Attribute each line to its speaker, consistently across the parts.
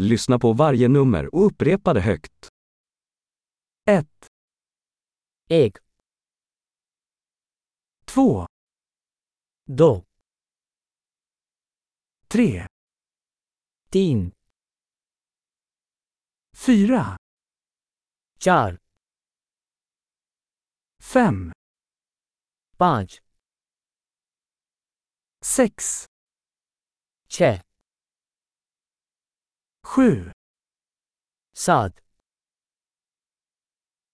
Speaker 1: Lyssna på varje nummer och upprepa det högt. 1,
Speaker 2: एक
Speaker 1: 2,
Speaker 2: दो
Speaker 1: 3,
Speaker 2: तीन
Speaker 1: 4,
Speaker 2: चार
Speaker 1: 5,
Speaker 2: पाँच
Speaker 1: 6,
Speaker 2: छः
Speaker 1: 7,
Speaker 2: सात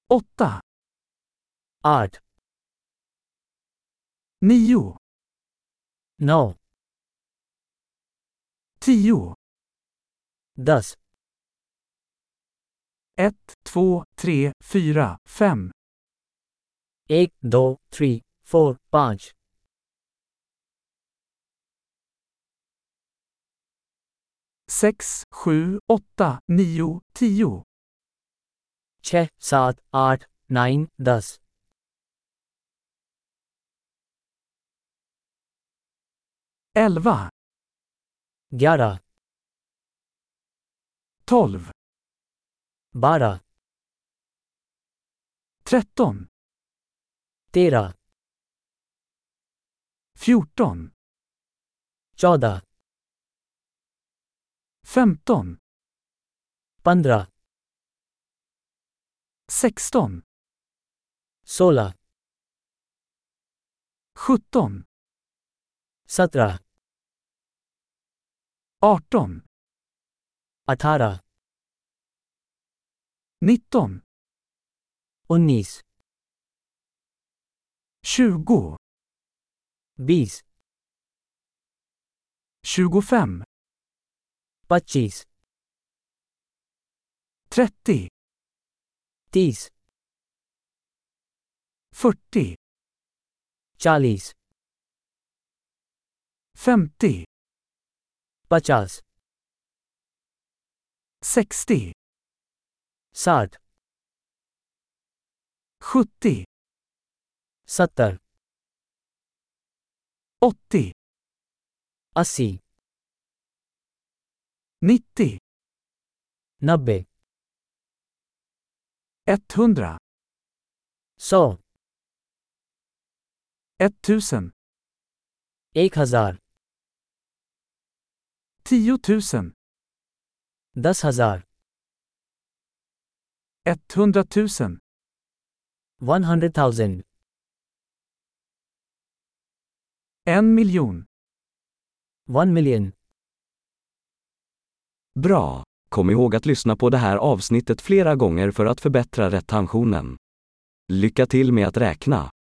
Speaker 1: 8,
Speaker 2: आठ
Speaker 1: 9,
Speaker 2: नौ
Speaker 1: 10,
Speaker 2: दस
Speaker 1: 1, 2, 3, 4, 5,
Speaker 2: एक दो थ्री फोर पाँच
Speaker 1: 6, 7, 8, 9, 10,
Speaker 2: छः सात आठ नाइन दस
Speaker 1: 11,
Speaker 2: ग्यारह
Speaker 1: 12,
Speaker 2: बारह
Speaker 1: 13,
Speaker 2: तेरह
Speaker 1: 14,
Speaker 2: चौदह
Speaker 1: 15,
Speaker 2: पंद्रह
Speaker 1: 16,
Speaker 2: सोलह
Speaker 1: 17,
Speaker 2: सत्रह
Speaker 1: 18,
Speaker 2: अठारह
Speaker 1: 19,
Speaker 2: उन्नीस
Speaker 1: 20,
Speaker 2: बीस
Speaker 1: 25,
Speaker 2: पच्चीस
Speaker 1: 30,
Speaker 2: तीस
Speaker 1: 40,
Speaker 2: चालीस
Speaker 1: 50,
Speaker 2: पचास
Speaker 1: 60,
Speaker 2: साठ
Speaker 1: 70,
Speaker 2: सत्तर
Speaker 1: 80,
Speaker 2: अस्सी
Speaker 1: 90,
Speaker 2: नब्बे
Speaker 1: 100,
Speaker 2: सौ
Speaker 1: 1000,
Speaker 2: एक हजार
Speaker 1: 10 000,
Speaker 2: दस हजार
Speaker 1: 100 000,
Speaker 2: one hundred thousand
Speaker 1: 1 miljon.
Speaker 2: One million
Speaker 1: Bra! Kom ihåg att lyssna på det här avsnittet flera gånger för att förbättra retentionen. Lycka till med att räkna!